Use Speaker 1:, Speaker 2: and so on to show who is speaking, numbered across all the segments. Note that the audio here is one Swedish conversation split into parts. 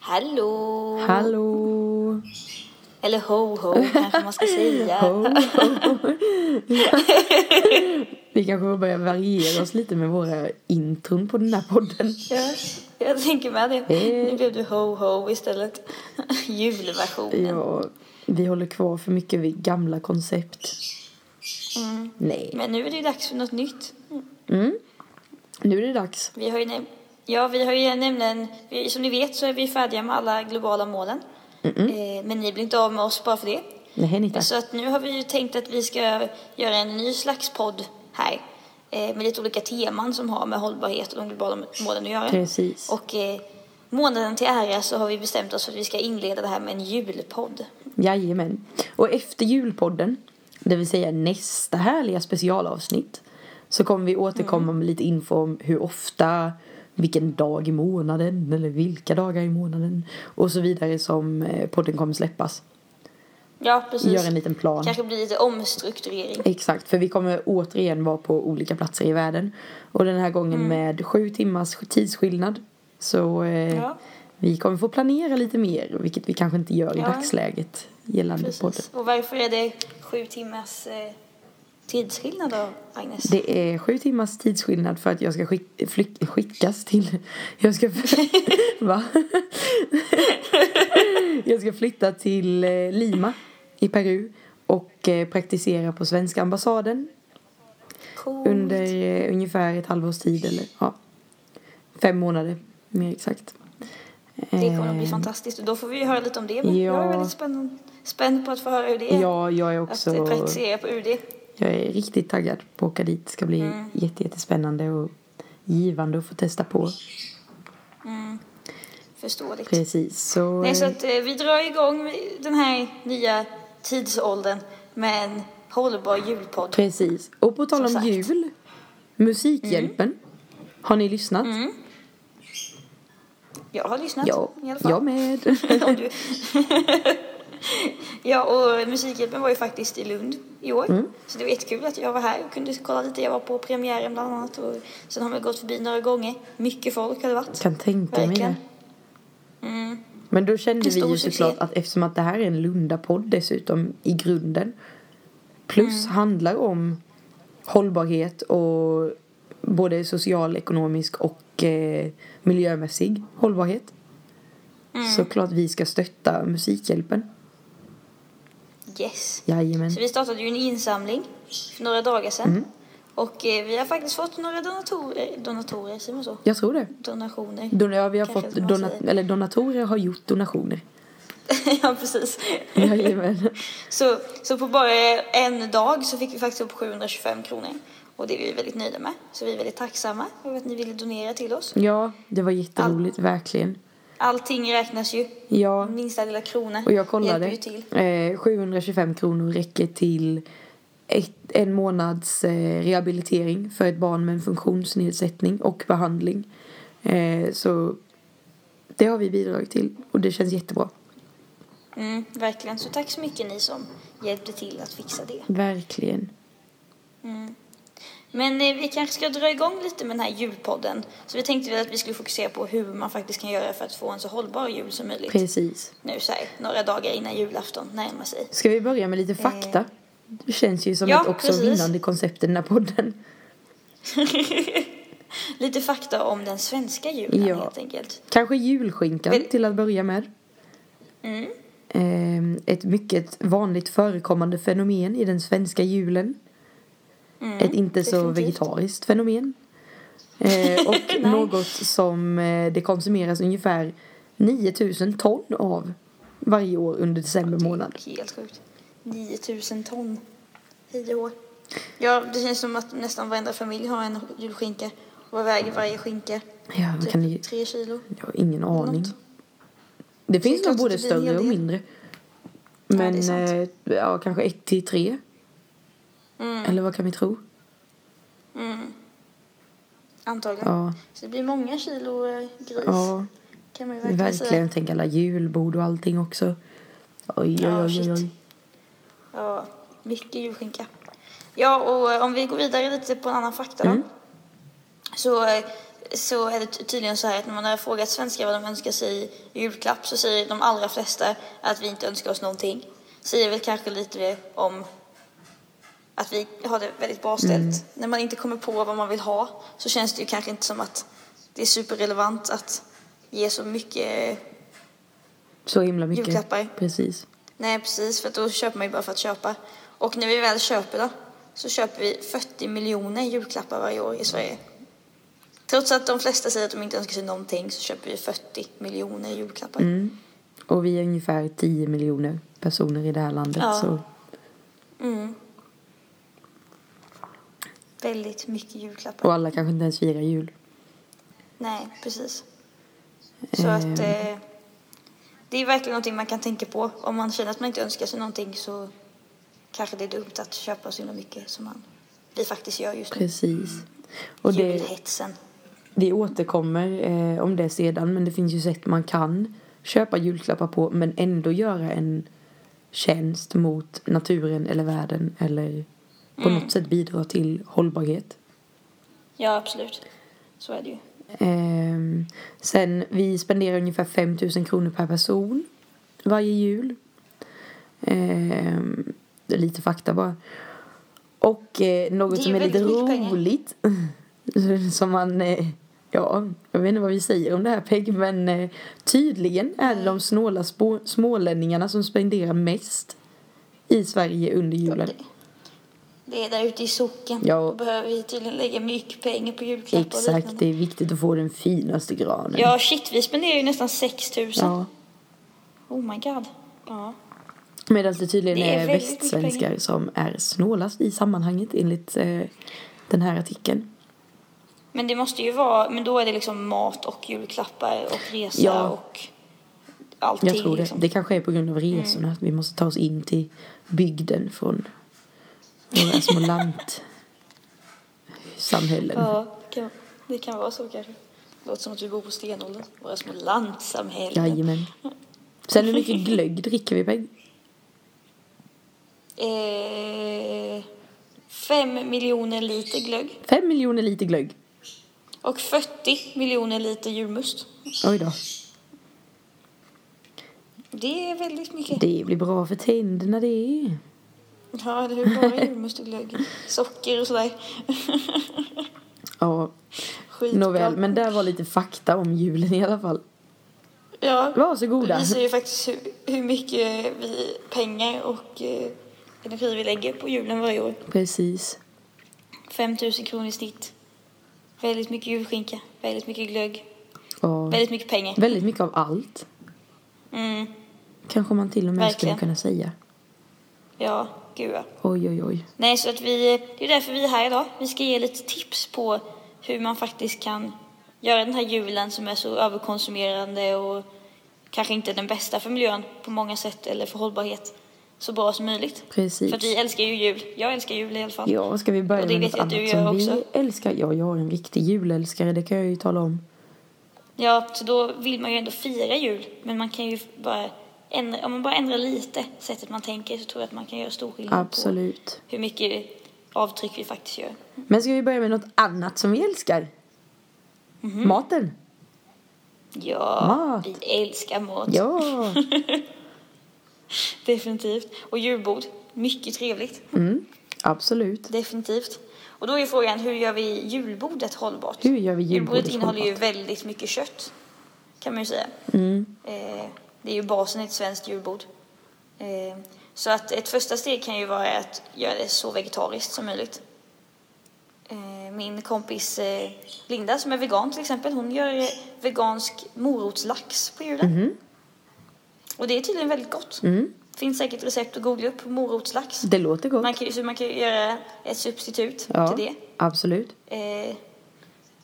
Speaker 1: Hallå!
Speaker 2: Hallå!
Speaker 1: Eller ho-ho kanske man ska säga.
Speaker 2: Ho, ho. Vi kanske får börja variera oss lite med våra intron på den här podden.
Speaker 1: Ja, jag tänker med det.
Speaker 2: Eh.
Speaker 1: Nu blev det ho-ho istället. Julversionen.
Speaker 2: Ja, vi håller kvar för mycket vid gamla koncept.
Speaker 1: Mm.
Speaker 2: Nej.
Speaker 1: Men nu är det ju dags för något nytt.
Speaker 2: Mm. Nu är det dags.
Speaker 1: Vi har ju näm- ja, vi har ju nämligen, vi, som ni vet så är vi färdiga med alla globala målen. Eh, men ni blir inte av med oss bara för det.
Speaker 2: Nej, ni tack.
Speaker 1: Så att nu har vi ju tänkt att vi ska göra en ny slags podd här. Eh, med lite olika teman som har med hållbarhet och de globala målen att göra.
Speaker 2: Precis.
Speaker 1: Och eh, månaden till ära så har vi bestämt oss för att vi ska inleda det här med en julpodd.
Speaker 2: Jajamän. Och efter julpodden, det vill säga nästa härliga specialavsnitt, så kommer vi
Speaker 1: Mm.
Speaker 2: återkomma med lite info om hur ofta, vilken dag i månaden eller vilka dagar i månaden och så vidare som eh, podden kommer släppas.
Speaker 1: Ja, precis.
Speaker 2: Gör en liten plan.
Speaker 1: Kanske blir lite omstrukturering.
Speaker 2: Exakt, för vi kommer återigen vara på olika platser i världen. Och den här
Speaker 1: Mm.
Speaker 2: gången med sju timmars tidsskillnad. Så eh,
Speaker 1: Ja.
Speaker 2: vi kommer få planera lite mer, vilket vi kanske inte gör i
Speaker 1: Ja.
Speaker 2: dagsläget gällande podden.
Speaker 1: Precis. Och varför är det sju timmars eh, tidsskillnad då, Agnes?
Speaker 2: Det är sju timmars tidsskillnad för att jag ska skick, flyk, skickas till... Jag ska... va? jag ska flytta till eh, Lima i Peru och eh, praktisera på svenska ambassaden
Speaker 1: Coolt.
Speaker 2: under eh, ungefär ett halvårs tid eller ja, fem månader mer exakt.
Speaker 1: Det kommer att bli fantastiskt. Och Då får vi ju höra lite om det. Men
Speaker 2: eh, ja.
Speaker 1: Jag är väldigt spänd, spänd på att få höra hur det är.
Speaker 2: Ja, jag är
Speaker 1: att
Speaker 2: också...
Speaker 1: eh, praktisera på UD.
Speaker 2: Jag är riktigt taggad på att åka dit. Det ska bli
Speaker 1: Mm.
Speaker 2: jätte, jättespännande och givande att få testa på.
Speaker 1: Förståeligt.
Speaker 2: Precis, så...
Speaker 1: Nej, så
Speaker 2: eh,
Speaker 1: att eh, vi drar igång den här nya tidsåldern med en hållbar julpodd.
Speaker 2: Precis. Och på tal
Speaker 1: Som
Speaker 2: om
Speaker 1: sagt. Mm.
Speaker 2: jul. Musikhjälpen. Har ni lyssnat?
Speaker 1: Jag har lyssnat
Speaker 2: Ja,
Speaker 1: i alla fall.
Speaker 2: jag med.
Speaker 1: Om du... ja, och Musikhjälpen var ju faktiskt i Lund i år.
Speaker 2: Mm.
Speaker 1: Så det var jättekul att jag var här och kunde kolla lite. Jag var på premiären bland annat och sen har man gått förbi några gånger. Mycket folk har det varit.
Speaker 2: kan tänka mig
Speaker 1: Verkligen. Mm.
Speaker 2: det. Men då kände
Speaker 1: En
Speaker 2: vi
Speaker 1: stor
Speaker 2: ju
Speaker 1: succé.
Speaker 2: såklart att eftersom att det här är en Lunda-podd dessutom i grunden. Plus
Speaker 1: Mm.
Speaker 2: handlar om hållbarhet och både social, ekonomisk och eh, miljömässig hållbarhet.
Speaker 1: Mm.
Speaker 2: Såklart vi ska stötta Musikhjälpen.
Speaker 1: Yes.
Speaker 2: Jajamän.
Speaker 1: Så vi startade ju en insamling för några dagar sedan.
Speaker 2: Mm.
Speaker 1: Och eh, vi har faktiskt fått några donatorer, donatorer, säger man så?
Speaker 2: Jag tror det.
Speaker 1: Donationer.
Speaker 2: Don- ja, vi har
Speaker 1: Kanske
Speaker 2: fått
Speaker 1: som man
Speaker 2: dona-
Speaker 1: säger.
Speaker 2: eller donatorer har gjort donationer.
Speaker 1: ja, precis.
Speaker 2: Jajamän.
Speaker 1: Så, så på bara en dag så fick vi faktiskt upp 725 kronor. Och det är vi väldigt nöjda med. Så vi är väldigt tacksamma över att ni ville donera till oss.
Speaker 2: Ja, det var jätteroligt, verkligen.
Speaker 1: Allting räknas ju.
Speaker 2: Ja,
Speaker 1: Minsta lilla krona
Speaker 2: och jag
Speaker 1: hjälper ju
Speaker 2: kollade.
Speaker 1: till.
Speaker 2: Eh, 725 kronor räcker till ett, en månads eh, rehabilitering för ett barn med en funktionsnedsättning och behandling. Eh, så det har vi bidragit till och det känns jättebra.
Speaker 1: Mm, verkligen. Så tack så mycket ni som hjälpte till att fixa det.
Speaker 2: Verkligen.
Speaker 1: Men eh, vi kanske ska dra igång lite med den här julpodden. Så vi tänkte väl att vi skulle fokusera på hur man faktiskt kan göra för att få en så hållbar jul som möjligt.
Speaker 2: Precis.
Speaker 1: Nu så här, några dagar innan julafton närmar sig.
Speaker 2: Ska vi börja med lite fakta? Det känns ju som
Speaker 1: Eh. ja,
Speaker 2: ett också
Speaker 1: precis.
Speaker 2: vinnande koncept i den här podden.
Speaker 1: Lite fakta om den svenska julen
Speaker 2: Ja.
Speaker 1: helt enkelt.
Speaker 2: Kanske julskinkan
Speaker 1: Men-
Speaker 2: till att börja med.
Speaker 1: Mm.
Speaker 2: Ehm, Ett mycket vanligt förekommande fenomen i den svenska julen. Ett inte så
Speaker 1: Mm, definitivt.
Speaker 2: vegetariskt fenomen. Eh, Och något som eh, det konsumeras ungefär 9000 ton av varje år under december månad.
Speaker 1: Helt sjukt. 9000 ton. Tio år. Ja, det känns som att nästan varenda familj har en julskinka. Vad väger varje skinka?
Speaker 2: Ja, vad kan det,
Speaker 1: Typ tre kilo.
Speaker 2: jag har ingen aning.
Speaker 1: Något.
Speaker 2: Det finns
Speaker 1: Tänk
Speaker 2: nog
Speaker 1: att
Speaker 2: både
Speaker 1: det blir en
Speaker 2: större
Speaker 1: hel
Speaker 2: och
Speaker 1: del.
Speaker 2: mindre.
Speaker 1: Ja, det är
Speaker 2: Men eh,
Speaker 1: sant. Mm.
Speaker 2: ja, kanske ett till tre. Eller vad kan vi tro?
Speaker 1: mm. Antagligen.
Speaker 2: Ja.
Speaker 1: Så det blir många kilo eh, gris.
Speaker 2: Ja,
Speaker 1: Kan man ju verkligen, säga.
Speaker 2: verkligen. Tänk alla julbord och allting också. Oj, oj,
Speaker 1: Ja,
Speaker 2: oj,
Speaker 1: shit.
Speaker 2: oj, oj.
Speaker 1: Ja, mycket julskinka. Ja, och eh, om vi går vidare lite på en annan fakta då. Så eh, så är det ty- tydligen så här att när man har frågat svenskar vad de önskar sig i julklapp så säger de allra flesta att vi inte önskar oss någonting. Säger väl kanske lite om att vi har det väldigt bra ställt. När man inte kommer på vad man vill ha så känns det ju kanske inte som att det är superrelevant att ge så mycket.
Speaker 2: Så himla mycket.
Speaker 1: Julklappar.
Speaker 2: Precis.
Speaker 1: Nej, precis, för att då köper man ju bara för att köpa. Och när vi väl köper då så köper vi 40 miljoner julklappar varje år i Sverige. Trots att de flesta säger att de inte önskar sig någonting så köper vi 40 miljoner julklappar.
Speaker 2: Mm. Och vi är ungefär 10 miljoner personer i det här landet.
Speaker 1: Ja.
Speaker 2: Så
Speaker 1: Väldigt mycket julklappar.
Speaker 2: Och alla kanske inte ens firar jul.
Speaker 1: Nej, precis. Så
Speaker 2: Ehm.
Speaker 1: att eh, det är verkligen någonting man kan tänka på. Om man känner att man inte önskar sig någonting så kanske det är dumt att köpa så himla mycket som man, vi faktiskt gör just nu.
Speaker 2: Precis. Och det,
Speaker 1: Julhetsen.
Speaker 2: det återkommer eh, om det sedan, men det finns ju sätt man kan köpa julklappar på men ändå göra en tjänst mot naturen eller världen eller på
Speaker 1: Mm.
Speaker 2: något sätt bidra till hållbarhet.
Speaker 1: Ja, absolut. Så är det ju.
Speaker 2: Ehm, sen, vi spenderar ungefär 5 000 kronor per person varje jul. Ehm, det är lite fakta bara. Och eh, något
Speaker 1: Det är
Speaker 2: som är
Speaker 1: ju
Speaker 2: lite
Speaker 1: väldigt mycket pengar.
Speaker 2: roligt, som man, eh, ja, jag vet inte vad vi säger om det här Peg, men eh, tydligen är det de snåla spå- smålänningarna som spenderar mest i Sverige under julen.
Speaker 1: Det är där ute i socken.
Speaker 2: Ja.
Speaker 1: Då behöver vi tydligen lägga mycket pengar på julklappar och
Speaker 2: Exakt,
Speaker 1: liknande.
Speaker 2: det är viktigt att få den finaste granen.
Speaker 1: Ja, shit, vi spenderar ju nästan 6 000.
Speaker 2: Ja.
Speaker 1: Oh my god. Ja.
Speaker 2: Medan det tydligen
Speaker 1: Det är
Speaker 2: är,
Speaker 1: väldigt mycket
Speaker 2: västsvenskar
Speaker 1: pengar.
Speaker 2: som är snålast i sammanhanget enligt eh, den här artikeln.
Speaker 1: Men det måste ju vara, men då är det liksom mat och julklappar och resa
Speaker 2: Ja.
Speaker 1: och allting.
Speaker 2: Jag tror det.
Speaker 1: Liksom.
Speaker 2: Det kanske är på grund av resorna. Att vi måste ta oss in till bygden från våra små lantsamhällen.
Speaker 1: Ja, det kan, det kan vara så kanske. Det låter som att vi bor på stenåldern. Våra små lantsamhällen.
Speaker 2: Jajamän. Sen hur mycket glögg dricker vi Peg?
Speaker 1: Eh, fem miljoner liter glögg
Speaker 2: Fem miljoner liter glögg.
Speaker 1: och 40 miljoner liter julmust.
Speaker 2: Oj då.
Speaker 1: Det är väldigt mycket.
Speaker 2: Det blir bra för tänderna det.
Speaker 1: Ja, det är bara julmust och glögg. Socker och sådär.
Speaker 2: Ja,
Speaker 1: Skitbra.
Speaker 2: nåväl. Men där var lite fakta om julen i alla fall.
Speaker 1: Ja.
Speaker 2: Varsågoda.
Speaker 1: Det visar ju faktiskt hur, hur mycket vi pengar och eh, energi vi lägger på julen varje år.
Speaker 2: Precis.
Speaker 1: 5 000 kronor i snitt. Väldigt mycket julskinka, väldigt mycket glögg,
Speaker 2: Ja.
Speaker 1: väldigt mycket pengar.
Speaker 2: Väldigt mycket av allt.
Speaker 1: Mm,
Speaker 2: Kanske man till och med
Speaker 1: Verkligen.
Speaker 2: skulle kunna säga.
Speaker 1: ja, gud ja.
Speaker 2: Oj, oj, oj.
Speaker 1: Nej, så att vi, det är därför vi är här idag. Vi ska ge lite tips på hur man faktiskt kan göra den här julen som är så överkonsumerande och kanske inte den bästa för miljön på många sätt eller för hållbarhet så bra som möjligt.
Speaker 2: Precis.
Speaker 1: För att vi älskar ju jul. Jag älskar jul i alla fall.
Speaker 2: Ja, ska vi
Speaker 1: Och
Speaker 2: börja
Speaker 1: det
Speaker 2: med
Speaker 1: vet
Speaker 2: något
Speaker 1: jag att
Speaker 2: annat
Speaker 1: du
Speaker 2: som
Speaker 1: gör
Speaker 2: vi älskar? Ja, jag är en riktig julälskare, det kan jag ju tala om.
Speaker 1: Ja, så då vill man ju ändå fira jul. Men man kan ju bara ändra, om man bara ändrar lite sättet man tänker så tror jag att man kan göra stor skillnad
Speaker 2: Absolut.
Speaker 1: på hur mycket avtryck vi faktiskt gör.
Speaker 2: Men ska vi börja med något annat som vi älskar?
Speaker 1: Mhm.
Speaker 2: Maten.
Speaker 1: Ja,
Speaker 2: Mat.
Speaker 1: vi älskar mat.
Speaker 2: Ja.
Speaker 1: Definitivt. Och julbord, mycket trevligt.
Speaker 2: Mm, absolut.
Speaker 1: Definitivt. Och då är ju frågan, hur gör vi julbordet hållbart?
Speaker 2: Hur gör vi
Speaker 1: Julbordet
Speaker 2: julbordet
Speaker 1: innehåller ju väldigt mycket kött, kan man ju säga.
Speaker 2: Mm.
Speaker 1: Eh, det är ju basen i ett svenskt julbord. Eh, så att ett första steg kan ju vara att göra det så vegetariskt som möjligt. Eh, min kompis eh, Linda som är vegan till exempel, hon gör eh, vegansk morotslax på julen.
Speaker 2: Mm-hmm.
Speaker 1: Och det är tydligen väldigt gott.
Speaker 2: Mm.
Speaker 1: Finns säkert recept att googla upp, morotslax.
Speaker 2: Det låter gott.
Speaker 1: Man kan, ju- så man kan ju göra ett substitut
Speaker 2: ja,
Speaker 1: till det.
Speaker 2: absolut.
Speaker 1: Eh,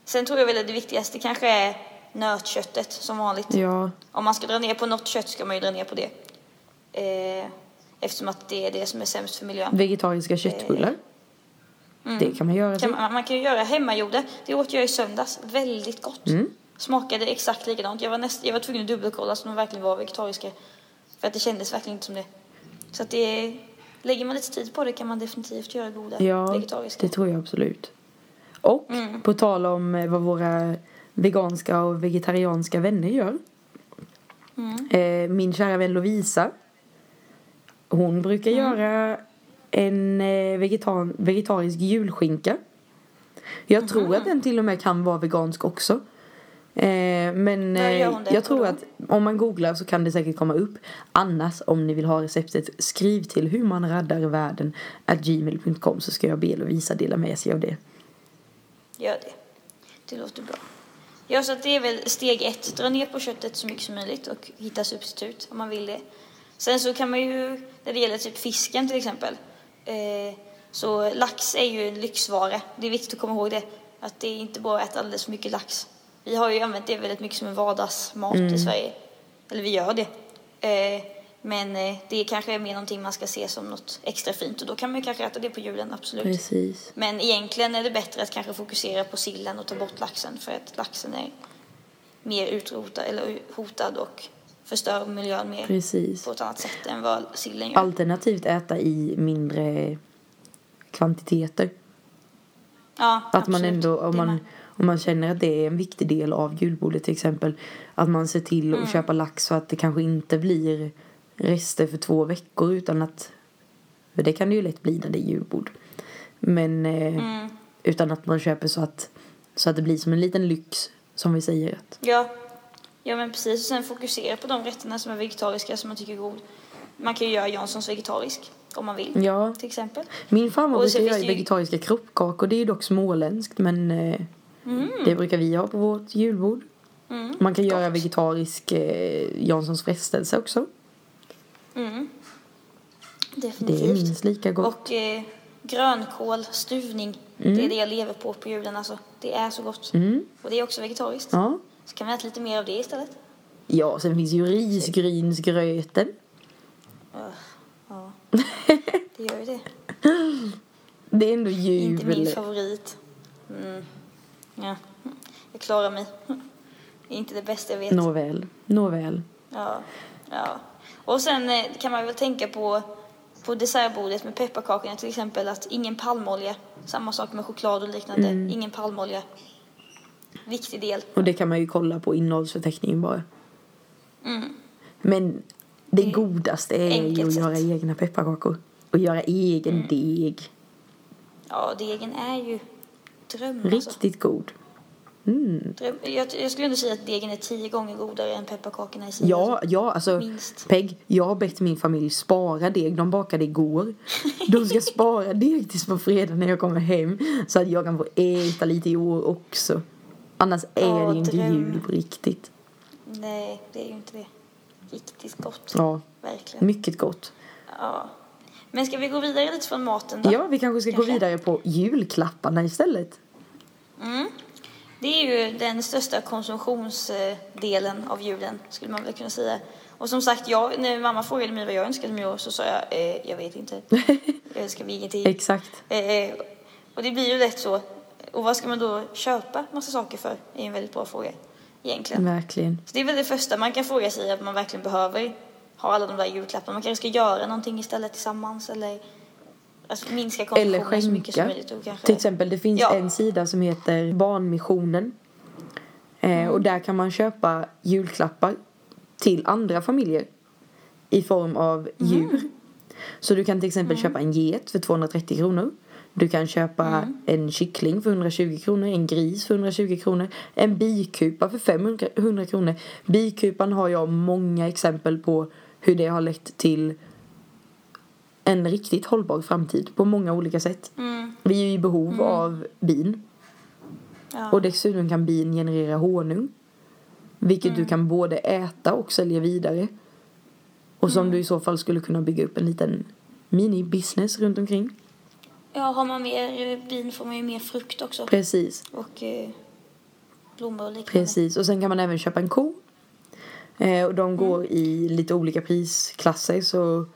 Speaker 1: sen tror jag väl att det viktigaste kanske är nötköttet som vanligt.
Speaker 2: Ja,
Speaker 1: Om man ska dra ner på något kött ska man ju dra ner på det. Eh, eftersom att det är det som är sämst för miljön. Mm.
Speaker 2: vegetariska köttbullar. Det kan man göra.
Speaker 1: Eh, Kan
Speaker 2: sig.
Speaker 1: man, man kan ju göra hemmagjorda. Det åt jag i söndags. Väldigt gott.
Speaker 2: Mm.
Speaker 1: Smakade exakt likadant. Jag var, näst, jag var tvungen att dubbelkolla så de verkligen var vegetariska. För att det kändes verkligen inte som det. Så att det... Lägger man lite tid på det kan man definitivt göra goda
Speaker 2: Ja,
Speaker 1: vegetariska.
Speaker 2: det tror jag absolut. Och på tal om eh, vad våra veganska och vegetarianska vänner gör. Eh, min kära vän Lovisa. Hon brukar göra en eh, vegetar- vegetarisk julskinka. Jag tror att den till och med kan vara vegansk också. Eh, men
Speaker 1: Vad gör
Speaker 2: eh,
Speaker 1: hon den
Speaker 2: jag
Speaker 1: på
Speaker 2: tror
Speaker 1: då?
Speaker 2: att om man googlar så kan det säkert komma upp. Annars om ni vill ha receptet skriv till hur man räddar världen at gmail.com så ska jag be Lovisa dela med sig av det.
Speaker 1: Gör det. Det låter bra. Ja, så att det är väl steg ett. Dra ner på köttet så mycket som möjligt och hitta substitut om man vill det. Sen så kan man ju, när det gäller typ fisken till exempel, eh, så lax är ju en lyxvara. Det är viktigt att komma ihåg det. Att det är inte bara att äta alldeles för mycket lax. Vi har ju använt det väldigt mycket som en vardagsmat i Sverige. Eller vi gör det. Eh, men eh, det är kanske är mer någonting man ska se som något extra fint och då kan man ju kanske äta det på julen, absolut.
Speaker 2: Precis.
Speaker 1: Men egentligen är det bättre att kanske fokusera på sillen och ta bort laxen för att laxen är mer utrotad eller hotad och förstör miljön mer
Speaker 2: Precis.
Speaker 1: på ett annat sätt än vad sillen gör.
Speaker 2: Alternativt äta i mindre kvantiteter.
Speaker 1: ja,
Speaker 2: Att man
Speaker 1: absolut.
Speaker 2: ändå, om
Speaker 1: Det
Speaker 2: man,
Speaker 1: med.
Speaker 2: om man känner att det är en viktig del av julbordet till exempel. Att man ser till
Speaker 1: Mm.
Speaker 2: att köpa lax så att det kanske inte blir rester för två veckor utan att. För det kan det ju lätt bli när det är julbord. Men eh,
Speaker 1: Mm.
Speaker 2: utan att man köper så att, så att det blir som en liten lyx som vi säger. Att,
Speaker 1: Ja. ja, men precis. Och sen fokusera på de rätterna som är vegetariska som man tycker är god. Man kan ju göra Janssons vegetarisk om man vill,
Speaker 2: ja,
Speaker 1: till exempel.
Speaker 2: min farmor
Speaker 1: Och sen
Speaker 2: brukar
Speaker 1: finns
Speaker 2: göra
Speaker 1: det ju-
Speaker 2: vegetariska kroppkakor. Det är ju dock småländskt men eh, det brukar vi ha på vårt julbord.
Speaker 1: Mm.
Speaker 2: Man kan göra vegetarisk eh, Janssons frestelse också.
Speaker 1: Mm. Definitivt.
Speaker 2: Det är minst lika gott.
Speaker 1: Och eh, grönkål, stuvning. Det
Speaker 2: Mm.
Speaker 1: är det jag lever på på julen alltså. Det är så gott. Och det är också vegetariskt.
Speaker 2: Ja.
Speaker 1: Så kan vi äta lite mer av det istället.
Speaker 2: ja, sen finns ju risgrynsgröten.
Speaker 1: Ja. det gör ju det.
Speaker 2: Det är ändå
Speaker 1: Inte min
Speaker 2: jul.
Speaker 1: favorit. Mm. Ja. Jag klarar mig. Det är inte det bästa jag vet.
Speaker 2: Nåväl, nåväl.
Speaker 1: Ja. ja. Och sen eh, kan man väl tänka på, på dessertbordet med pepparkakorna till exempel att ingen palmolja. Samma sak med choklad och liknande. Ingen palmolja. Viktig del.
Speaker 2: Mm. Och det kan man ju kolla på innehållsförteckningen bara.
Speaker 1: Mm.
Speaker 2: Men det godaste är ju
Speaker 1: Enkelt
Speaker 2: att
Speaker 1: sätt.
Speaker 2: göra egna pepparkakor. Och göra egen deg.
Speaker 1: Ja, degen är ju dröm alltså.
Speaker 2: Riktigt god.
Speaker 1: dröm. Jag, jag skulle ändå säga att degen är tio gånger godare än pepparkakorna i sig.
Speaker 2: Ja, ja alltså
Speaker 1: Minst.
Speaker 2: Peg, jag har bett min familj spara deg. De bakade igår. De ska spara deg tills på fredag när jag kommer hem. Så att jag kan få äta lite i år också. Annars är
Speaker 1: Åh,
Speaker 2: det ju inte
Speaker 1: dröm.
Speaker 2: jul på riktigt.
Speaker 1: Nej, det är ju inte det. Riktigt gott.
Speaker 2: Ja, Mm.
Speaker 1: Verkligen.
Speaker 2: mycket gott.
Speaker 1: Ja. Men ska vi gå vidare lite från maten då?
Speaker 2: Ja, vi kanske ska gå
Speaker 1: Kanske.
Speaker 2: vidare på julklapparna istället.
Speaker 1: Mm. Det är ju den största konsumtionsdelen av julen, skulle man väl kunna säga. Och som sagt, jag, när mamma frågade mig vad jag önskade mig i år så sa jag, eh, jag vet inte. Jag önskar mig ingenting.
Speaker 2: Exakt.
Speaker 1: Eh, och det blir ju lätt så. Och vad ska man då köpa massa saker för? Det är en väldigt bra fråga egentligen.
Speaker 2: Verkligen.
Speaker 1: Så det är väl det första man kan fråga sig att man verkligen behöver ha alla de där julklapparna. Man kanske ska göra någonting istället tillsammans eller alltså, minska
Speaker 2: Eller
Speaker 1: konsumtionen så mycket som
Speaker 2: skänka.
Speaker 1: möjligt. Och kanske...
Speaker 2: Till exempel, det finns
Speaker 1: Ja.
Speaker 2: en sida som heter Barnmissionen. Eh, och där kan man köpa julklappar till andra familjer i form av djur. Så du kan till exempel köpa en get för 230 kronor. Du kan köpa en kyckling för 120 kronor, en gris för 120 kronor, en bikupa för 500 kronor. Bikupan har jag många exempel på hur det har lett till en riktigt hållbar framtid på många olika sätt. Vi är ju i behov av bin.
Speaker 1: Ja.
Speaker 2: Och dessutom kan bin generera honung. Vilket du kan både äta och sälja vidare. Och som du i så fall skulle kunna bygga upp en liten mini-business runt omkring.
Speaker 1: Ja, har man mer eh, bin får man ju mer frukt också.
Speaker 2: Precis,
Speaker 1: Och eh, blommor och liknande.
Speaker 2: precis. Och sen kan man även köpa en ko. Eh, och de går
Speaker 1: Mm.
Speaker 2: i lite olika prisklasser så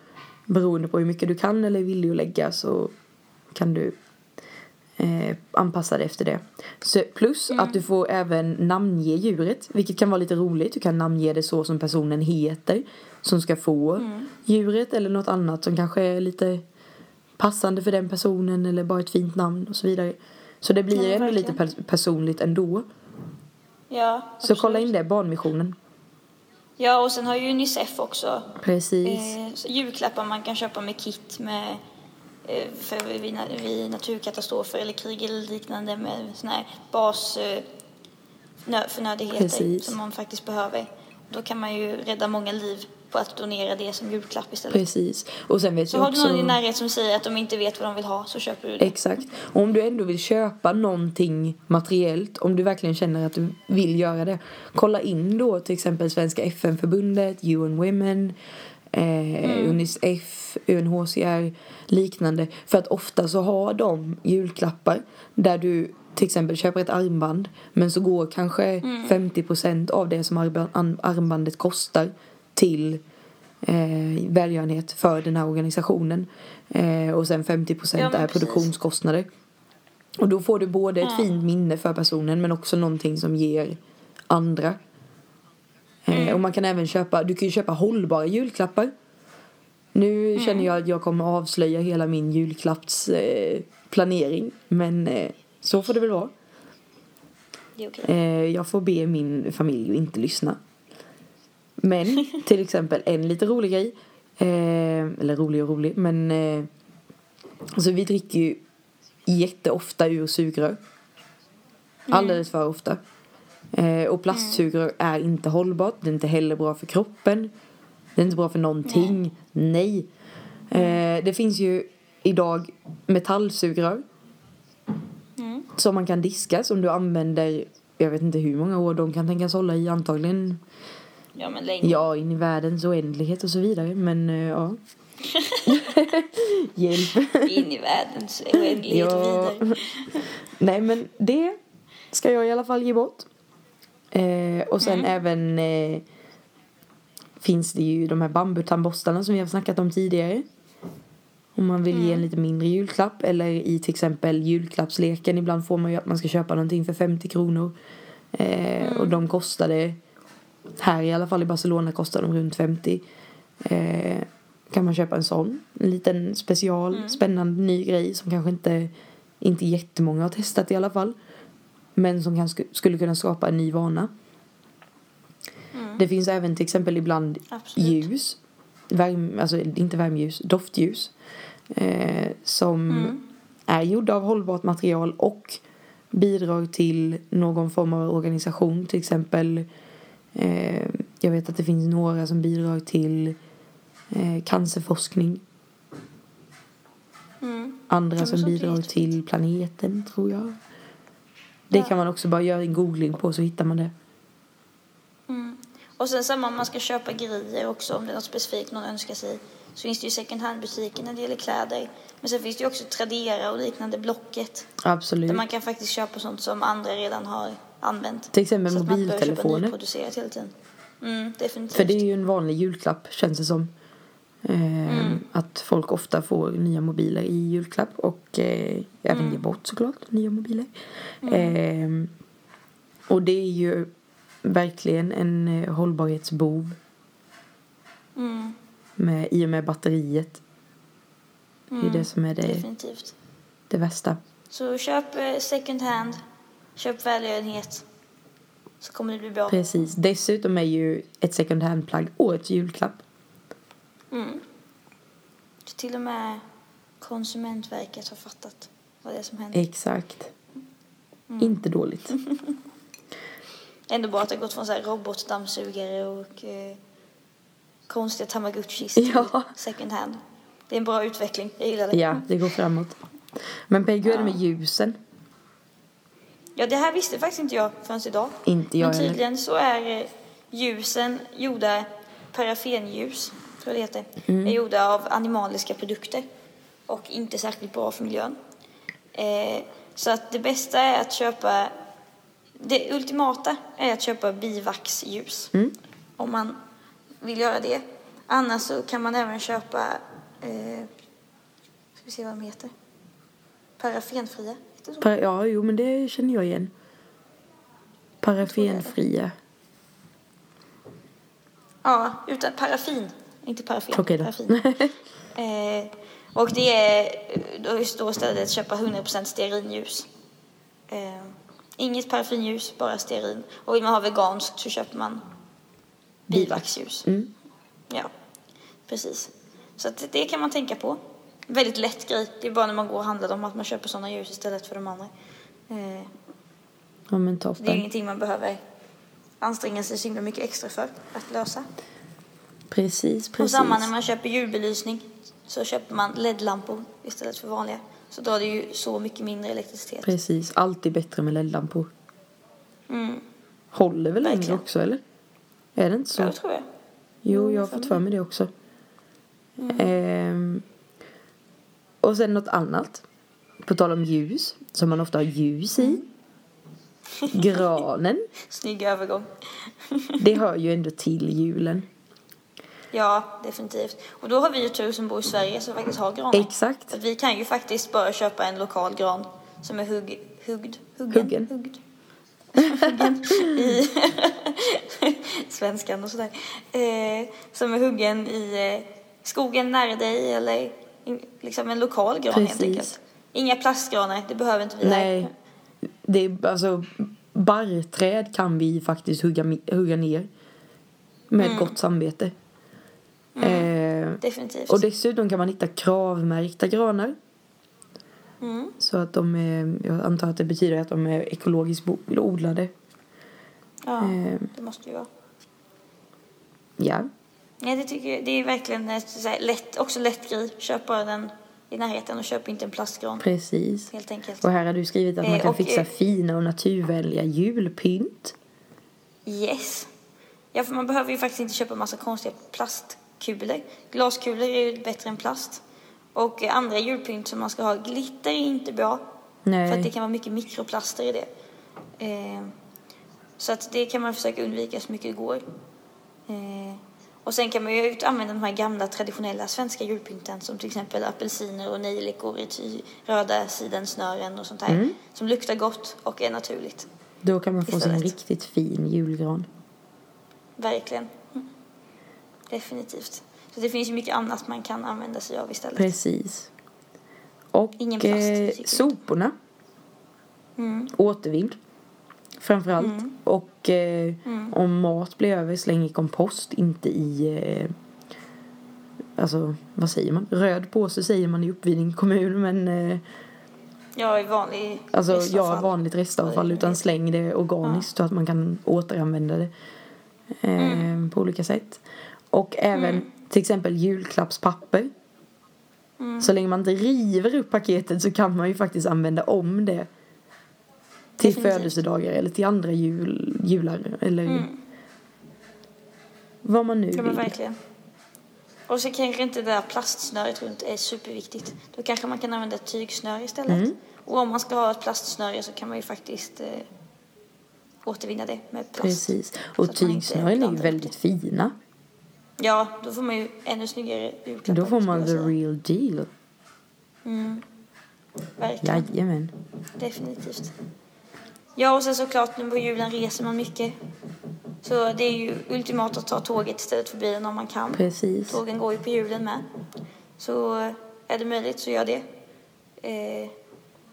Speaker 2: beroende på hur mycket du kan eller är villig att lägga så kan du eh, anpassa dig efter det. Så, plus
Speaker 1: Mm.
Speaker 2: att du får även namnge djuret, vilket kan vara lite roligt. Du kan namnge det så som personen heter som ska få
Speaker 1: Mm.
Speaker 2: djuret eller något annat som kanske är lite passande för den personen eller bara ett fint namn och så vidare. Så det blir
Speaker 1: Ja,
Speaker 2: ju ändå lite
Speaker 1: verkligen.
Speaker 2: pers- personligt ändå.
Speaker 1: Ja,
Speaker 2: Så
Speaker 1: absolut.
Speaker 2: kolla in det, barnmissionen.
Speaker 1: Ja, och sen har ju Unicef också
Speaker 2: Precis.
Speaker 1: eh, så julklappar man kan köpa med kit med, eh, för vid, na- vid naturkatastrofer eller krig eller liknande med sån här bas eh, nö, förnödenheter
Speaker 2: Precis.
Speaker 1: som man faktiskt behöver. Då kan man ju rädda många liv på att donera det som julklapp istället.
Speaker 2: Precis. Och sen vet
Speaker 1: Så
Speaker 2: jag
Speaker 1: har du
Speaker 2: också... Eh,
Speaker 1: någon i din närhet som säger att de inte vet vad de vill ha så köper du det.
Speaker 2: Exakt. Och om du ändå vill köpa någonting materiellt, om du verkligen känner att du vill göra det, kolla in då till exempel Svenska FN-förbundet, UN Women, eh, Unicef, UNHCR, liknande. För att ofta så har de julklappar där du till exempel köper ett armband men så går kanske 50% av det som arba- an- armbandet kostar till eh, välgörenhet för den här organisationen. Eh, och sen 50
Speaker 1: Ja, men
Speaker 2: är
Speaker 1: precis.
Speaker 2: produktionskostnader. Och då får du både ett fint minne för personen men också någonting som ger andra. Eh,
Speaker 1: Mm.
Speaker 2: Och man kan även köpa, du kan ju köpa hållbara julklappar. Nu
Speaker 1: Mm.
Speaker 2: känner jag att jag kommer avslöja hela min julklappsplanering. Eh, planering. men eh, så får det väl vara.
Speaker 1: Det är okej.
Speaker 2: Eh, jag får be min familj att inte lyssna. Men till exempel en lite rolig grej. Eh, eller rolig och rolig. Men eh, alltså vi dricker ju jätteofta ur sugrör. Alldeles för ofta. Eh, och plastsugrör är inte hållbart. Det är inte heller bra för kroppen. Det är inte bra för någonting. Nej. Eh, det finns ju idag metallsugrör som man kan diska som du använder jag vet inte hur många år de kan tänkas hålla i antagligen
Speaker 1: Ja, men länge.
Speaker 2: ja in i världens oändlighet och så vidare men eh, ja hjälp
Speaker 1: In i världens oändlighet
Speaker 2: Ja.
Speaker 1: vidare.
Speaker 2: nej men det ska jag i alla fall ge bort eh, och sen även eh, finns det ju de här bambutandborstarna som vi har snackat om tidigare om man vill ge en lite mindre julklapp eller i till exempel julklappsleken. Ibland får man ju att man ska köpa någonting för 50 kronor. Eh, Och de kostade, här i alla fall i Barcelona kostar de runt 50. Eh, kan man köpa en sån. En liten special, spännande ny grej som kanske inte, inte jättemånga har testat i alla fall. Men som kanske skulle kunna skapa en ny vana. Det finns även till exempel ibland
Speaker 1: Absolut.
Speaker 2: ljus. Värme, alltså inte värmeljus, doftljus. Eh, som
Speaker 1: Mm.
Speaker 2: är gjorda av hållbart material och bidrar till någon form av organisation. Till exempel, eh, jag vet att det finns några som bidrar till eh, cancerforskning. Andra
Speaker 1: Mm. men
Speaker 2: som
Speaker 1: sånt är
Speaker 2: bidrar
Speaker 1: jättefint.
Speaker 2: till planeten, tror jag. Det kan man också bara göra en googling på så hittar man det.
Speaker 1: Och sen samma om man ska köpa grejer också, om det är något specifikt någon önskar sig. Så finns det ju second hand-butiker när det gäller kläder. Men sen finns det ju också Tradera och liknande, Blocket.
Speaker 2: Absolut.
Speaker 1: Där man kan faktiskt köpa sånt som andra redan har använt.
Speaker 2: Till exempel
Speaker 1: så att man inte behöver köpa
Speaker 2: mobiltelefoner.
Speaker 1: nyproducerat hela tiden. Mm, definitivt.
Speaker 2: För det är ju en vanlig julklapp känns det som. Eh,
Speaker 1: Mm.
Speaker 2: Att folk ofta får nya mobiler i julklapp och eh, även
Speaker 1: Mm.
Speaker 2: ger bort såklart nya mobiler. Eh, och det är ju verkligen en eh, hållbarhetsbov.
Speaker 1: Mm,
Speaker 2: Med, I och med batteriet. Det är det som är det,
Speaker 1: mm, Definitivt.
Speaker 2: det värsta.
Speaker 1: Så köp eh, second hand, köp välgörenhet. Så kommer det bli bra.
Speaker 2: Precis. Dessutom är ju ett second hand-plagg årets julklapp.
Speaker 1: Så till och med Konsumentverket har fattat vad det är som händer.
Speaker 2: Exakt.
Speaker 1: Mm.
Speaker 2: Inte dåligt.
Speaker 1: Ändå bra att det har gått från så här robotdammsugare och eh, konstiga tamagotchis
Speaker 2: Ja.
Speaker 1: till second hand. Det är en bra utveckling. Jag gillar det.
Speaker 2: Ja, det går framåt. Men Peggy, hur är det med ljusen?
Speaker 1: Ja, det här visste faktiskt inte jag förrän idag.
Speaker 2: Inte jag
Speaker 1: Men
Speaker 2: heller.
Speaker 1: tydligen så är eh, ljusen gjorda, parafenljus tror jag det heter,
Speaker 2: Mm.
Speaker 1: är gjorda av animaliska produkter och inte särskilt bra för miljön. Eh, så att det bästa är att köpa, det ultimata är att köpa bivaxljus.
Speaker 2: Mm.
Speaker 1: Om man vill göra det. Annars så kan man även köpa, eh, ska vi se vad de heter, parafenfria. Heter det så?
Speaker 2: Par- ja, jo, men det känner jag igen. Paraffenfria.
Speaker 1: Ja, utan paraffin. Inte paraffin.
Speaker 2: Okej då.
Speaker 1: paraffin. eh, och det är då står istället att köpa 100% stearinljus. Eh, inget parfymljus, bara stearin. Och vill man ha veganskt så köper man bivaxljus.
Speaker 2: Mm.
Speaker 1: Ja, precis. Så att det kan man tänka på. Väldigt lätt grej. Det är bara när man går och handlar dem att man köper sådana ljus istället för de andra. Eh,
Speaker 2: Ja, men
Speaker 1: det är
Speaker 2: toppen.
Speaker 1: ingenting man behöver anstränga sig så himla mycket extra för att lösa.
Speaker 2: Precis,
Speaker 1: Och
Speaker 2: precis.
Speaker 1: samma när man köper julbelysning så köper man LED-lampor istället för vanliga. Så drar det ju så mycket mindre elektricitet.
Speaker 2: Precis, alltid bättre med LED-lampor.
Speaker 1: Mm,
Speaker 2: Håller väl längre
Speaker 1: Verkligen.
Speaker 2: också, eller? Är det inte så?
Speaker 1: jag tror jag.
Speaker 2: Jo, jag har fått för mig det också.
Speaker 1: Mm.
Speaker 2: Ehm, och sen något annat. På tal om ljus, som man ofta har ljus
Speaker 1: Mm.
Speaker 2: i. Granen.
Speaker 1: Snygg övergång.
Speaker 2: Det hör ju ändå till julen.
Speaker 1: Ja, definitivt. Och då har vi ju tur som bor i Sverige som faktiskt har granar.
Speaker 2: Exakt.
Speaker 1: Att vi kan ju faktiskt bara köpa en lokal gran som är hugg, huggd, huggen,
Speaker 2: Huggen.
Speaker 1: huggd. huggen i svenskan och sådär. Eh, som är huggen i eh, skogen nära dig eller in, liksom en lokal gran helt
Speaker 2: Precis.
Speaker 1: enkelt. Inga plastgranar, det behöver inte vi här.
Speaker 2: Nej. Det är, alltså, barrträd kan vi faktiskt hugga, mi- hugga ner. Med
Speaker 1: Mm.
Speaker 2: gott samvete. Ehm,
Speaker 1: Definitivt.
Speaker 2: och dessutom kan man hitta kravmärkta granar.
Speaker 1: Mm.
Speaker 2: Så att de är, jag antar att det betyder att de är ekologiskt bo- odlade.
Speaker 1: Ja,
Speaker 2: Ehm.
Speaker 1: det måste ju vara.
Speaker 2: Ja,
Speaker 1: Nej, det tycker jag, det är verkligen eh, så här, lätt, också lätt grej. Köp bara den i närheten och köp inte en plastgran
Speaker 2: precis.
Speaker 1: helt enkelt.
Speaker 2: Och här har du skrivit att man
Speaker 1: Eh,
Speaker 2: kan
Speaker 1: och,
Speaker 2: fixa
Speaker 1: eh,
Speaker 2: fina och naturvänliga julpynt.
Speaker 1: Yes. Ja, för man behöver ju faktiskt inte köpa massa konstiga plastkulor. Glaskulor är ju bättre än plast. Och eh, andra julpynt som man ska ha, glitter är inte bra. För att det
Speaker 2: Nej,
Speaker 1: kan vara mycket mikroplaster i det. Eh, så att det kan man försöka undvika så mycket det går. Eh, och sen kan man ju ut- använda de här gamla traditionella svenska julpynten som till exempel apelsiner och nejlikor i ty, röda sidensnören och sånt här. Som luktar gott och är naturligt.
Speaker 2: då kan man få sig en
Speaker 1: istället.
Speaker 2: riktigt fin julgran.
Speaker 1: Verkligen. Mm. Definitivt. Så det finns ju mycket annat man kan använda sig av istället.
Speaker 2: Precis. Och
Speaker 1: Ingen plast,
Speaker 2: eh,
Speaker 1: tycker jag.
Speaker 2: soporna.
Speaker 1: Mm.
Speaker 2: Återvind. Framförallt. Och eh,
Speaker 1: Mm.
Speaker 2: om mat blir över, släng i kompost. Inte i... Eh, alltså, vad säger man? Röd påse säger man i Uppvidinge kommun. Men eh,
Speaker 1: Jag är vanlig
Speaker 2: alltså,
Speaker 1: restavfall.
Speaker 2: ja, vanligt restavfall.
Speaker 1: Oj,
Speaker 2: Utan
Speaker 1: vet.
Speaker 2: släng det organiskt så att man kan återanvända det. Eh,
Speaker 1: Mm.
Speaker 2: På olika sätt. Och även till exempel julklappspapper.
Speaker 1: Mm.
Speaker 2: Så länge man inte river upp paketet så kan man ju faktiskt använda om det. Till
Speaker 1: Definitivt.
Speaker 2: födelsedagar eller till andra jul, jular eller vad man nu
Speaker 1: Ja, men
Speaker 2: vill.
Speaker 1: verkligen. Och så kanske inte det där plastsnöret runt är superviktigt. Då kanske man kan använda ett tygsnöre istället.
Speaker 2: Mm.
Speaker 1: Och om man ska ha ett plastsnöre så kan man ju faktiskt eh, återvinna det med plast.
Speaker 2: Precis.
Speaker 1: man
Speaker 2: Och
Speaker 1: inte
Speaker 2: tygsnören är ju
Speaker 1: blandar upp
Speaker 2: väldigt fina.
Speaker 1: Ja, då får man ju ännu snyggare julklappar.
Speaker 2: Då får
Speaker 1: skulle
Speaker 2: man
Speaker 1: jag
Speaker 2: the
Speaker 1: säga.
Speaker 2: real deal.
Speaker 1: Verkligen.
Speaker 2: Jajamän.
Speaker 1: Definitivt. Ja, och sen såklart nu på julen reser man mycket. Så det är ju ultimat att ta tåget istället för bilen om man kan.
Speaker 2: Precis.
Speaker 1: Tågen går ju på julen med. Så eh, är det möjligt så gör det. Eh,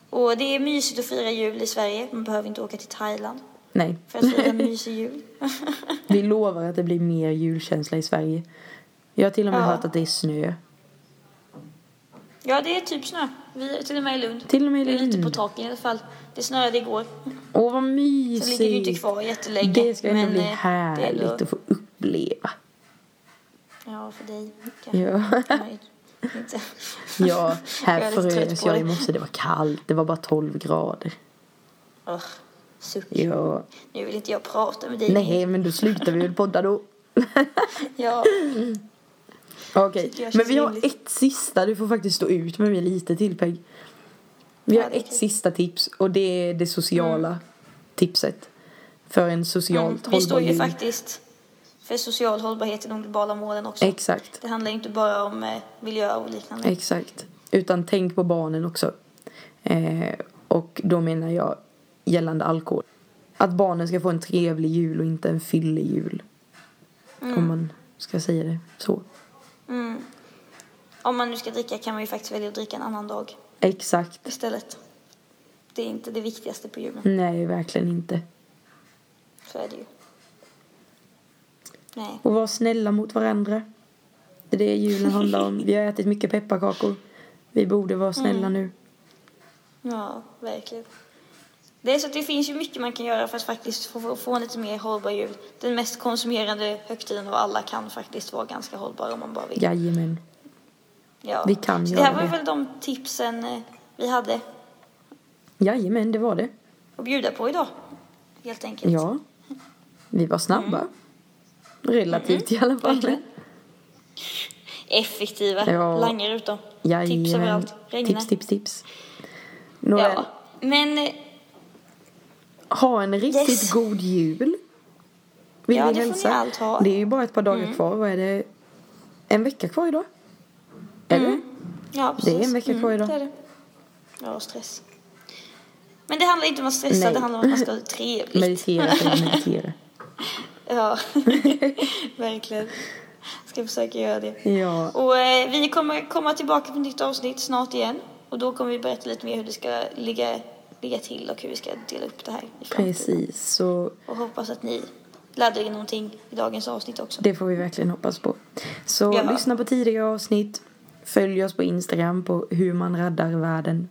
Speaker 1: och det är mysigt att fira jul i Sverige. Man behöver inte åka till Thailand
Speaker 2: Nej.
Speaker 1: för att fira en mysig jul.
Speaker 2: Vi lovar att det blir mer julkänsla i Sverige. Jag har till och med
Speaker 1: Ja.
Speaker 2: hört att det är snö.
Speaker 1: Ja, det är typ snö. Vi är till och med i Lund.
Speaker 2: Till och med i
Speaker 1: Det är lite på
Speaker 2: Lund.
Speaker 1: taken i alla fall. Det snöade igår.
Speaker 2: Åh, vad
Speaker 1: Så ligger det ju inte
Speaker 2: mysigt!
Speaker 1: kvar jättelänge.
Speaker 2: Det ska ändå
Speaker 1: men,
Speaker 2: bli
Speaker 1: eh, det är ändå-
Speaker 2: härligt att få uppleva.
Speaker 1: Ja, för dig. kanske.
Speaker 2: Ja.
Speaker 1: Nej, inte.
Speaker 2: Ja,
Speaker 1: Jag är
Speaker 2: här
Speaker 1: lite trött
Speaker 2: frös
Speaker 1: på
Speaker 2: jag
Speaker 1: det.
Speaker 2: i morse. Det var kallt. Det var bara 12 grader.
Speaker 1: Ugh, suck.
Speaker 2: Ja.
Speaker 1: Nu vill inte jag prata med dig.
Speaker 2: Nej, men då slutar vi väl podda då.
Speaker 1: Ja,
Speaker 2: Okej,
Speaker 1: Tycker jag
Speaker 2: men
Speaker 1: känns
Speaker 2: vi har
Speaker 1: rimligt.
Speaker 2: ett sista. Du får faktiskt stå ut med mig lite till, Peg. Vi
Speaker 1: Ja,
Speaker 2: har
Speaker 1: det är
Speaker 2: ett
Speaker 1: okej.
Speaker 2: sista tips och det är det sociala tipset. För en
Speaker 1: mm,
Speaker 2: socialt
Speaker 1: vi
Speaker 2: hållbar
Speaker 1: står ju
Speaker 2: jul.
Speaker 1: faktiskt för social hållbarhet i de globala målen också.
Speaker 2: Exakt,
Speaker 1: det handlar ju inte bara om eh, miljö och liknande.
Speaker 2: exakt. Utan tänk på barnen också. Eh, och då menar jag gällande alkohol. Att barnen ska få en trevlig jul och inte en fyllig jul. Om man ska säga det så.
Speaker 1: Mm. Om man nu ska dricka kan man ju faktiskt välja att dricka en annan dag
Speaker 2: Exakt.
Speaker 1: istället. Det är inte det viktigaste på julen.
Speaker 2: Nej, verkligen inte.
Speaker 1: Så är det ju. Nej.
Speaker 2: Och vara snälla mot varandra. Det är det julen handlar om. Vi har ätit mycket pepparkakor. Vi borde vara snälla nu.
Speaker 1: Ja, verkligen. Det är så att det finns ju mycket man kan göra för att faktiskt få, få en lite mer hållbar jul. Den mest konsumerande högtiden av alla kan faktiskt vara ganska hållbar om man bara vill.
Speaker 2: Jajamän.
Speaker 1: Ja.
Speaker 2: vi kan
Speaker 1: så det här
Speaker 2: göra
Speaker 1: var
Speaker 2: det.
Speaker 1: väl de tipsen eh, vi hade
Speaker 2: Jajamän, det var det.
Speaker 1: att bjuda på idag. Helt enkelt.
Speaker 2: Ja. Vi var snabba. Relativt i alla fall.
Speaker 1: Verkligen. Effektiva.
Speaker 2: Ja.
Speaker 1: Langar ut dem. Tips
Speaker 2: Jajamän.
Speaker 1: överallt. Regna.
Speaker 2: Tips, tips, tips. Nåväl.
Speaker 1: Ja. Men eh,
Speaker 2: Ha en riktigt
Speaker 1: Yes.
Speaker 2: god jul. Vill
Speaker 1: Ja, det får
Speaker 2: vi
Speaker 1: ni
Speaker 2: hälsa.
Speaker 1: allt ha. Mm.
Speaker 2: Det är ju bara ett par dagar kvar. Vad är det? En vecka kvar idag? Eller?
Speaker 1: Mm. ja,
Speaker 2: Det
Speaker 1: precis. Mm,
Speaker 2: är en vecka kvar idag.
Speaker 1: Det är det. Ja, stress. Men det handlar inte om att stressa,
Speaker 2: Nej.
Speaker 1: det handlar om att man ska ha det trevligt.
Speaker 2: Meditera, säger meditera.
Speaker 1: Ja, verkligen. Ska försöka göra det.
Speaker 2: Ja.
Speaker 1: Och eh, vi kommer komma tillbaka med ett nytt avsnitt snart igen. Och då kommer vi berätta lite mer hur det ska ligga, ligga till och hur vi ska dela upp det här i framtiden.
Speaker 2: Precis, så
Speaker 1: Och hoppas att ni lärde er någonting i dagens avsnitt också.
Speaker 2: det får vi verkligen hoppas på. Så
Speaker 1: Ja.
Speaker 2: lyssna på tidigare avsnitt. Följ oss på Instagram på hur man raddar världen.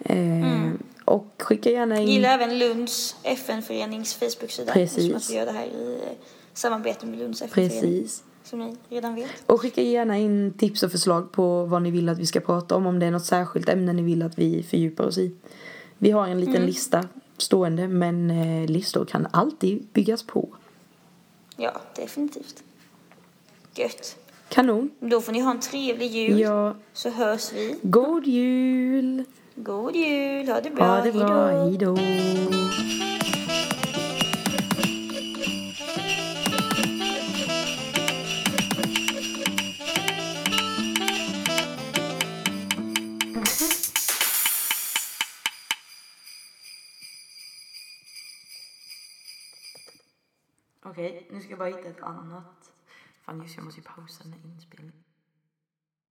Speaker 2: Eh, Och skicka gärna in...
Speaker 1: Mm. Gilla även Lunds FN-förenings Facebook-sida.
Speaker 2: Precis.
Speaker 1: Som att vi gör det här i eh, samarbete med Lunds FN-förening.
Speaker 2: Precis.
Speaker 1: Som ni redan vet.
Speaker 2: Och skicka gärna in tips och förslag på vad ni vill att vi ska prata om. Om det är något särskilt ämne ni vill att vi fördjupar oss i. Vi har en liten lista stående men eh, listor kan alltid byggas på.
Speaker 1: Ja, definitivt. Gött.
Speaker 2: Kanon.
Speaker 1: Då får ni ha en trevlig jul.
Speaker 2: Ja,
Speaker 1: Så hörs vi.
Speaker 2: god jul!
Speaker 1: God jul! Ha det bra!
Speaker 2: Ha det bra,
Speaker 1: Hejdå.
Speaker 2: hejdå! Okej, nu ska jag bara hitta ett annat. Fan just jag måste ju pausa den här inspelningen.